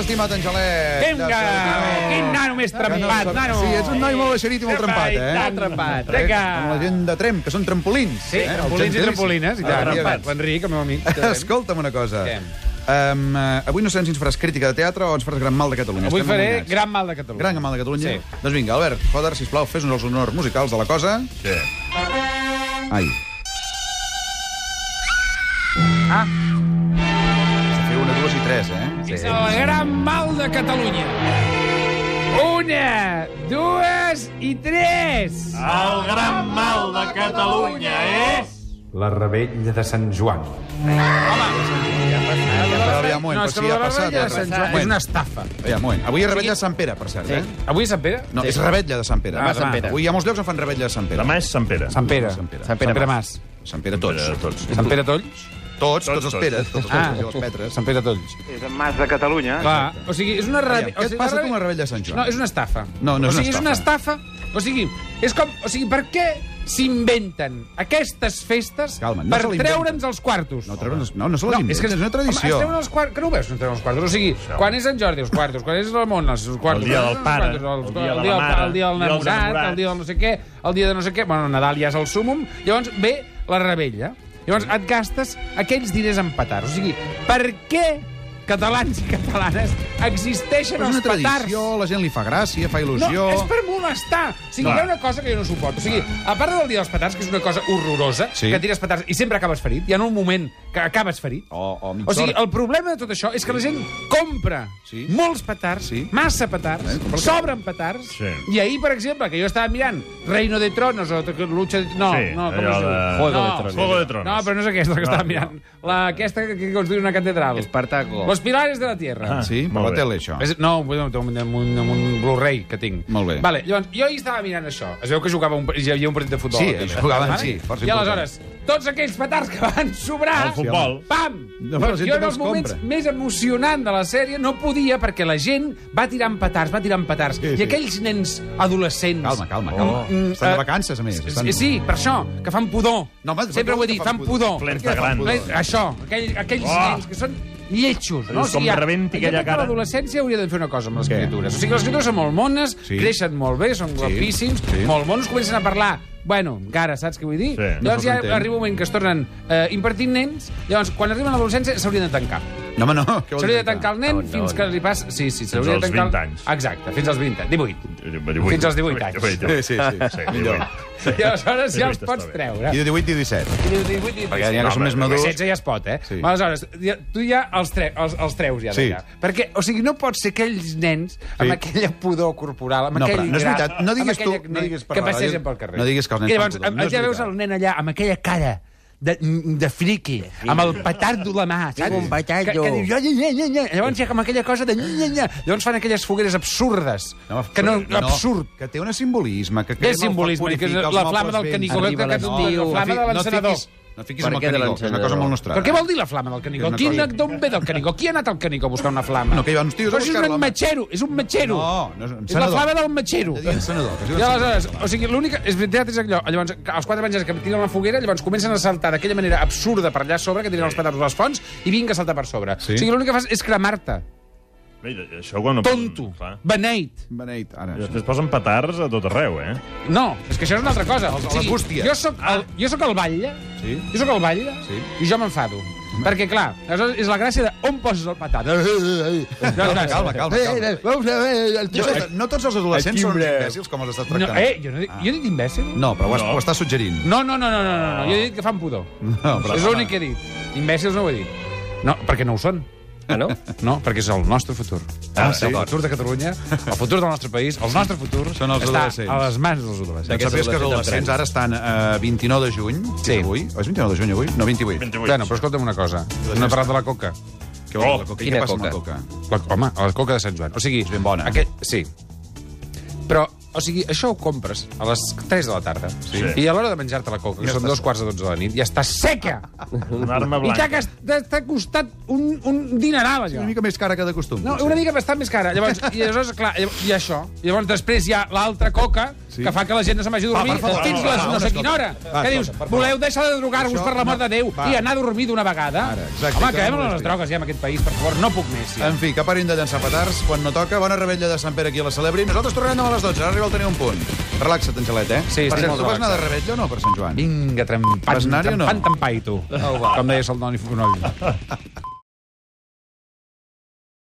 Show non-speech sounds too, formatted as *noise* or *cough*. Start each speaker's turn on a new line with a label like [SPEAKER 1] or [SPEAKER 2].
[SPEAKER 1] estimat Angelet.
[SPEAKER 2] Vinga! Quin nano més trempat, nano!
[SPEAKER 1] Sí, ets un noi molt eixerit i molt
[SPEAKER 2] Epa,
[SPEAKER 1] trempat,
[SPEAKER 2] i
[SPEAKER 1] eh?
[SPEAKER 2] tant, trempat.
[SPEAKER 1] Res,
[SPEAKER 2] Vinga!
[SPEAKER 1] Com la gent de Tremp, que són trampolins. eh?
[SPEAKER 2] Sí, trampolins i trampolines, i tant. L'Enric, el meu amic. que sabem.
[SPEAKER 1] *laughs* Escolta'm una cosa.
[SPEAKER 2] Què?
[SPEAKER 1] Um, avui no sabem si ens faràs crítica de teatre o ens faràs gran mal de Catalunya.
[SPEAKER 2] Avui
[SPEAKER 1] Estem
[SPEAKER 2] faré
[SPEAKER 1] nominats.
[SPEAKER 2] Gran Mal de Catalunya.
[SPEAKER 1] Gran mal de Catalunya.
[SPEAKER 2] Sí.
[SPEAKER 1] Doncs vinga, Albert, Joder, sisplau, fes-nos els honors musicals de la cosa.
[SPEAKER 3] Sí.
[SPEAKER 1] Ai.
[SPEAKER 2] Ah.
[SPEAKER 1] Has de fer una, dues i tres, eh?
[SPEAKER 2] És el Gran Mal de Catalunya. Una, dues i tres!
[SPEAKER 3] El gran mal de Catalunya és...
[SPEAKER 4] La rebella de Sant Joan.
[SPEAKER 1] Però ja, un moment,
[SPEAKER 2] No,
[SPEAKER 1] però
[SPEAKER 2] és que
[SPEAKER 1] si ja
[SPEAKER 2] la
[SPEAKER 1] ha passat.
[SPEAKER 2] rebella
[SPEAKER 1] ja
[SPEAKER 2] de
[SPEAKER 1] ha
[SPEAKER 2] Sant Joan
[SPEAKER 1] passat.
[SPEAKER 2] és una estafa.
[SPEAKER 1] Ja, un moment. Avui és rebetlla de Sant Pere, per cert, eh?
[SPEAKER 2] Avui és Sant Pere?
[SPEAKER 1] No, és rebetlla de Sant Pere.
[SPEAKER 2] Ah, Sant Pere.
[SPEAKER 1] Avui hi ha molts llocs on fan rebetlla de Sant Pere.
[SPEAKER 3] Demà és Sant Pere.
[SPEAKER 2] Sant Pere.
[SPEAKER 1] Sant Pere.
[SPEAKER 2] Sant Pere, Mas.
[SPEAKER 1] Sant Pere tots.
[SPEAKER 3] Pere, tots.
[SPEAKER 2] Sant Pere Tolls?
[SPEAKER 1] Tots, tots
[SPEAKER 3] Tots,
[SPEAKER 1] els
[SPEAKER 3] tots.
[SPEAKER 1] Peres, tots els
[SPEAKER 2] Ah.
[SPEAKER 1] Peres i les Petres.
[SPEAKER 2] Sant Pere Tolls.
[SPEAKER 5] És en Mas de Catalunya.
[SPEAKER 2] Clar, o sigui, és una
[SPEAKER 1] Aviam,
[SPEAKER 2] rebella...
[SPEAKER 1] Què et passa tu amb la rebetlla de Sant Joan?
[SPEAKER 2] No, és una estafa.
[SPEAKER 1] No, no és
[SPEAKER 2] o sigui,
[SPEAKER 1] una
[SPEAKER 2] és una estafa. O sigui, és com... O sigui, per què s'inventen aquestes festes
[SPEAKER 1] Calma, no
[SPEAKER 2] per
[SPEAKER 1] se la inventen.
[SPEAKER 2] treure'ns els quartos?
[SPEAKER 1] No, treure'ns- no, no se les inventen, és una tradició.
[SPEAKER 2] Home, es treuen els quartos, que no ho veus, no treuen els quartos? O sigui, quan és Sant Jordi, els quartos, quan és Ramon, els quartos...
[SPEAKER 3] El dia
[SPEAKER 2] quan
[SPEAKER 3] del
[SPEAKER 2] és
[SPEAKER 3] pare,
[SPEAKER 2] els quartos,
[SPEAKER 3] el dia de la
[SPEAKER 2] el dia, del
[SPEAKER 3] mare,
[SPEAKER 2] pa- el dia del
[SPEAKER 3] el dia dels
[SPEAKER 2] enamorat,
[SPEAKER 3] enamorats.
[SPEAKER 2] el dia del no sé què, el dia de no sé què... Bueno, Nadal ja és el súmum. Llavors ve la rebella. Llavors et gastes aquells diners en petards. O sigui, per què catalans i catalanes existeixen
[SPEAKER 1] Però és
[SPEAKER 2] els
[SPEAKER 1] una
[SPEAKER 2] petards?
[SPEAKER 1] tradició, la gent li fa gràcia, fa il·lusió...
[SPEAKER 2] No, és per molestar. O sigui,
[SPEAKER 3] Clar.
[SPEAKER 2] hi ha una cosa que jo no suporto. O sigui, a part del dia dels petards, que és una cosa horrorosa,
[SPEAKER 1] Sí.
[SPEAKER 2] que tires petards i sempre acabes ferit, hi ha un moment que acabes ferit.
[SPEAKER 3] Oh.
[SPEAKER 1] O- o mig
[SPEAKER 2] o sigui,
[SPEAKER 1] sort.
[SPEAKER 2] el problema de tot això és que la gent compra
[SPEAKER 1] Sí.
[SPEAKER 2] molts petards,
[SPEAKER 1] Sí.
[SPEAKER 2] massa petards,
[SPEAKER 1] Eh, compra el que-
[SPEAKER 2] sobren petards,
[SPEAKER 3] Sí.
[SPEAKER 2] i ahir, per exemple, que jo estava mirant Reino de Tronos o Lucha de... No,
[SPEAKER 3] Sí,
[SPEAKER 2] no, com
[SPEAKER 3] allò
[SPEAKER 2] es diu?
[SPEAKER 3] de-
[SPEAKER 2] Juego
[SPEAKER 3] de Tronos. Juego de Tronos.
[SPEAKER 2] No, però no és aquesta
[SPEAKER 1] Ah,
[SPEAKER 2] la que
[SPEAKER 3] No,
[SPEAKER 2] estava
[SPEAKER 3] no.
[SPEAKER 2] mirant. La, aquesta que construï una catedral.
[SPEAKER 5] Espartaco.
[SPEAKER 2] Los pilares de la tierra.
[SPEAKER 3] Ah.
[SPEAKER 1] Sí, per
[SPEAKER 3] Molt
[SPEAKER 1] la
[SPEAKER 3] bé.
[SPEAKER 1] tele, això.
[SPEAKER 2] És, no, un, un, un, un Blu-ray que tinc.
[SPEAKER 1] Molt bé.
[SPEAKER 2] Vale, llavors, jo hi estava mirant això. Es veu que jugava un, hi havia un partit de futbol.
[SPEAKER 1] Sí,
[SPEAKER 2] a la tele.
[SPEAKER 1] jugaven,
[SPEAKER 2] Vale?
[SPEAKER 1] sí, Ah, força
[SPEAKER 2] I
[SPEAKER 1] important.
[SPEAKER 2] aleshores, tots aquells petards que van sobrar...
[SPEAKER 3] Al futbol.
[SPEAKER 2] Pam!
[SPEAKER 1] No,
[SPEAKER 2] No,
[SPEAKER 1] però la gent també
[SPEAKER 2] jo en els
[SPEAKER 1] els
[SPEAKER 2] moments
[SPEAKER 1] compra.
[SPEAKER 2] més emocionants de la sèrie no podia perquè la gent va tirant petards, va tirant petards.
[SPEAKER 1] Sí,
[SPEAKER 2] I
[SPEAKER 1] sí.
[SPEAKER 2] aquells nens adolescents...
[SPEAKER 1] Calma, calma, calma.
[SPEAKER 2] Mm,
[SPEAKER 1] Estan
[SPEAKER 2] eh,
[SPEAKER 1] de vacances, a més. Estan...
[SPEAKER 2] Sí, sí, per això, que fan pudor.
[SPEAKER 1] No, home,
[SPEAKER 2] Sempre ho he dit, fan pudor.
[SPEAKER 3] Plens
[SPEAKER 1] Per què
[SPEAKER 3] de gran.
[SPEAKER 1] fan
[SPEAKER 2] Bé,
[SPEAKER 1] pudor?
[SPEAKER 2] Això, aquell, aquells
[SPEAKER 3] Oh!
[SPEAKER 2] nens que són lletxos. No?
[SPEAKER 3] Dius, com
[SPEAKER 2] ja-
[SPEAKER 3] rebenti
[SPEAKER 2] jo crec
[SPEAKER 3] aquella
[SPEAKER 2] que
[SPEAKER 3] cara.
[SPEAKER 2] A l'adolescència hauria de fer una cosa amb les
[SPEAKER 1] Què?
[SPEAKER 2] criatures. O sigui, les criatures són molt mones,
[SPEAKER 1] Sí.
[SPEAKER 2] sí. creixen molt bé, són sí. guapíssims,
[SPEAKER 1] Sí.
[SPEAKER 2] sí. molt monos, comencen a parlar Bueno, encara, saps què vull dir?
[SPEAKER 3] Sí. No
[SPEAKER 2] llavors
[SPEAKER 1] se'ls
[SPEAKER 2] ja
[SPEAKER 1] entén.
[SPEAKER 2] arriba un moment que es tornen eh, impertinents, llavors quan arriben a l'adolescència s'haurien de tancar.
[SPEAKER 1] No, home, no. què vols
[SPEAKER 2] S'hauria de
[SPEAKER 1] dir?
[SPEAKER 2] tancar el nen
[SPEAKER 3] No, no,
[SPEAKER 2] fins
[SPEAKER 3] no.
[SPEAKER 2] que li passa... Sí, sí, s'hauria
[SPEAKER 3] als
[SPEAKER 2] de tancar...
[SPEAKER 3] 20 anys.
[SPEAKER 2] Exacte, fins als 20 anys, 18.
[SPEAKER 3] Fins
[SPEAKER 2] als 18 anys.
[SPEAKER 1] Sí, sí, *laughs* sí. Millor.
[SPEAKER 2] I aleshores ja els
[SPEAKER 3] 18 està
[SPEAKER 2] pots
[SPEAKER 3] bé.
[SPEAKER 2] treure.
[SPEAKER 1] I de 18 i 17. Perquè n'hi ha que són
[SPEAKER 3] No,
[SPEAKER 1] més
[SPEAKER 3] home,
[SPEAKER 1] madurs.
[SPEAKER 2] 16 ja es pot, eh?
[SPEAKER 1] Sí.
[SPEAKER 2] Sí. Aleshores, ja- tu ja els, tre els, els treus ja
[SPEAKER 1] Sí.
[SPEAKER 2] d'allà. Perquè, o sigui, no pots ser aquells nens amb
[SPEAKER 1] Sí.
[SPEAKER 2] aquella pudor corporal, amb
[SPEAKER 1] No,
[SPEAKER 2] aquell
[SPEAKER 1] però no és
[SPEAKER 2] gra,
[SPEAKER 1] veritat. No
[SPEAKER 2] amb
[SPEAKER 1] diguis
[SPEAKER 2] aquella
[SPEAKER 1] tu-
[SPEAKER 2] acné
[SPEAKER 1] no diguis per
[SPEAKER 2] que
[SPEAKER 1] la
[SPEAKER 2] passegen
[SPEAKER 1] ràdio-
[SPEAKER 2] pel carrer.
[SPEAKER 1] no diguis que els nens
[SPEAKER 2] I llavors,
[SPEAKER 1] fan pudor, no és
[SPEAKER 2] ja veus
[SPEAKER 1] veritat.
[SPEAKER 2] el nen allà amb aquella cara de, de friqui, amb el petardo a la mà, saps?
[SPEAKER 6] un petardo.
[SPEAKER 2] Que, que diu, nya, nya, nya, nya. Llavors ja amb aquella cosa de nya, nya, nya. Llavors fan aquelles fogueres absurdes.
[SPEAKER 1] No,
[SPEAKER 2] que no, absurd.
[SPEAKER 1] Que té un simbolisme. Que
[SPEAKER 2] Té simbolisme, que és la flama del canicolet que
[SPEAKER 6] Arriba
[SPEAKER 2] aquest
[SPEAKER 6] l'estiu.
[SPEAKER 2] diu, la flama de l'encenador.
[SPEAKER 1] No fiquis
[SPEAKER 6] Per
[SPEAKER 1] amb el
[SPEAKER 6] què de
[SPEAKER 1] canigó, que és una cosa
[SPEAKER 6] l'encenedor?
[SPEAKER 1] molt nostrada.
[SPEAKER 2] Però què vol dir la flama del Canigó?
[SPEAKER 1] És una
[SPEAKER 2] Quin,
[SPEAKER 1] cosa-
[SPEAKER 2] d'on ve del Canigó? Qui ha anat al Canigó a buscar una flama?
[SPEAKER 1] No, que hi va uns tios a
[SPEAKER 2] Però si és
[SPEAKER 1] buscar-la,
[SPEAKER 2] un
[SPEAKER 1] home.
[SPEAKER 2] matxero, és un matxero.
[SPEAKER 1] No, no és un
[SPEAKER 2] és la
[SPEAKER 1] senador.
[SPEAKER 2] flama del matxero.
[SPEAKER 1] De dir encenedor, que es diu
[SPEAKER 2] I
[SPEAKER 1] encenedor.
[SPEAKER 2] aleshores, o sigui, l'única... És veritat, és allò. Llavors, que els quatre menjars que tiren la foguera, llavors comencen a saltar d'aquella manera absurda per allà a sobre, que tiren els petards a les fonts, i vinga a saltar per sobre.
[SPEAKER 1] Sí.
[SPEAKER 2] O sigui, l'únic que fas és cremar-te.
[SPEAKER 3] Mira, això quan...
[SPEAKER 2] Tonto.
[SPEAKER 3] Clar.
[SPEAKER 2] Beneit.
[SPEAKER 1] Beneit, ara.
[SPEAKER 3] I després posen petards a tot arreu, eh?
[SPEAKER 2] No, és que això és una altra cosa.
[SPEAKER 1] Els-
[SPEAKER 2] O sigui,
[SPEAKER 1] les bústies.
[SPEAKER 2] Jo sóc el, jo sóc el batlle,
[SPEAKER 1] Sí.
[SPEAKER 2] jo sóc el batlle,
[SPEAKER 1] Sí.
[SPEAKER 2] i jo m'enfado. Perquè, clar, aleshores és la gràcia de on poses el petat. Calma,
[SPEAKER 1] Calma, calma, calma.
[SPEAKER 6] Eh, Vamos a ver, el
[SPEAKER 1] Jo, eh, no tots els adolescents són uns imbècils com els estàs
[SPEAKER 2] No,
[SPEAKER 1] tractant.
[SPEAKER 2] eh, jo no, he dit- jo he dit imbècil?
[SPEAKER 1] Ah. No, però ho, has,
[SPEAKER 3] No.
[SPEAKER 1] ho estàs suggerint.
[SPEAKER 2] No, no, no, no, no, no, no. jo he dit que fan pudor.
[SPEAKER 1] però-
[SPEAKER 2] és l'únic que he dit. Imbècils no ho he dit. No, perquè no ho són.
[SPEAKER 6] Ah, no?
[SPEAKER 2] No, perquè és el nostre futur.
[SPEAKER 1] Ah, sí?
[SPEAKER 2] El futur de Catalunya, el futur del nostre país, el nostre futur
[SPEAKER 1] Són els
[SPEAKER 2] està
[SPEAKER 1] adolescents.
[SPEAKER 2] a les mans dels adolescents.
[SPEAKER 1] Doncs sabies que els adolescents ara estan a 29 de juny, que
[SPEAKER 2] Sí.
[SPEAKER 1] és avui. O és 29 de juny avui? No, 28.
[SPEAKER 3] 28.
[SPEAKER 2] Bueno, però escolta'm una cosa. No he parlat de la coca.
[SPEAKER 1] Què vol dir la
[SPEAKER 3] Oh,
[SPEAKER 1] coca? I
[SPEAKER 6] quina
[SPEAKER 1] què passa amb la
[SPEAKER 6] coca?
[SPEAKER 1] coca?
[SPEAKER 2] La, home, a la coca de Sant Joan. O sigui,
[SPEAKER 1] És ben bona.
[SPEAKER 2] Aquest, sí. Però, o sigui, això ho compres a les 3 de la tarda. Sí. I a l'hora de menjar-te la coca, que
[SPEAKER 1] Ja
[SPEAKER 2] són
[SPEAKER 1] està
[SPEAKER 2] dos quarts de 12 de la nit, ja està seca!
[SPEAKER 3] Una arma
[SPEAKER 2] I t'ha
[SPEAKER 3] blanca.
[SPEAKER 2] cas- t'ha t'ha costat un, un dineral, allò.
[SPEAKER 1] Una mica més cara que de costum.
[SPEAKER 2] No,
[SPEAKER 1] potser.
[SPEAKER 2] una mica bastant més cara. Llavors, i aleshores, clar, i això. Llavors, després hi ha l'altra coca, sí. que fa que la gent no se'n vagi a dormir
[SPEAKER 1] per favor,
[SPEAKER 2] fins
[SPEAKER 1] va,
[SPEAKER 2] les
[SPEAKER 1] va,
[SPEAKER 2] no sé
[SPEAKER 1] escolta.
[SPEAKER 2] quina hora.
[SPEAKER 1] Va,
[SPEAKER 2] que dius,
[SPEAKER 1] escolta, per favor.
[SPEAKER 2] voleu deixar de drogar-vos
[SPEAKER 1] Això
[SPEAKER 2] per l'amor
[SPEAKER 1] no-
[SPEAKER 2] de Déu
[SPEAKER 1] va.
[SPEAKER 2] i anar a dormir d'una vegada?
[SPEAKER 1] Ara, exacte,
[SPEAKER 2] Home,
[SPEAKER 1] que
[SPEAKER 2] acabem
[SPEAKER 1] no
[SPEAKER 2] amb les
[SPEAKER 1] molestis.
[SPEAKER 2] drogues ja en aquest país, per favor, no puc més. Ja.
[SPEAKER 1] En fi, que parin de llançar petards quan no toca. Bona rebella de Sant Pere aquí a la Celebri. Nosaltres tornarem demà a les 12. Ara arriba el tenir un punt. Relaxa't, Angelet, eh?
[SPEAKER 2] Sí, estic
[SPEAKER 1] per cert,
[SPEAKER 2] molt
[SPEAKER 1] tu vas anar de rebella o no per Sant Joan?
[SPEAKER 2] Vinga, trempant,
[SPEAKER 1] Vas anar-hi o no?
[SPEAKER 2] trempant, trempai, tu. Com deia el Doni Fonoll.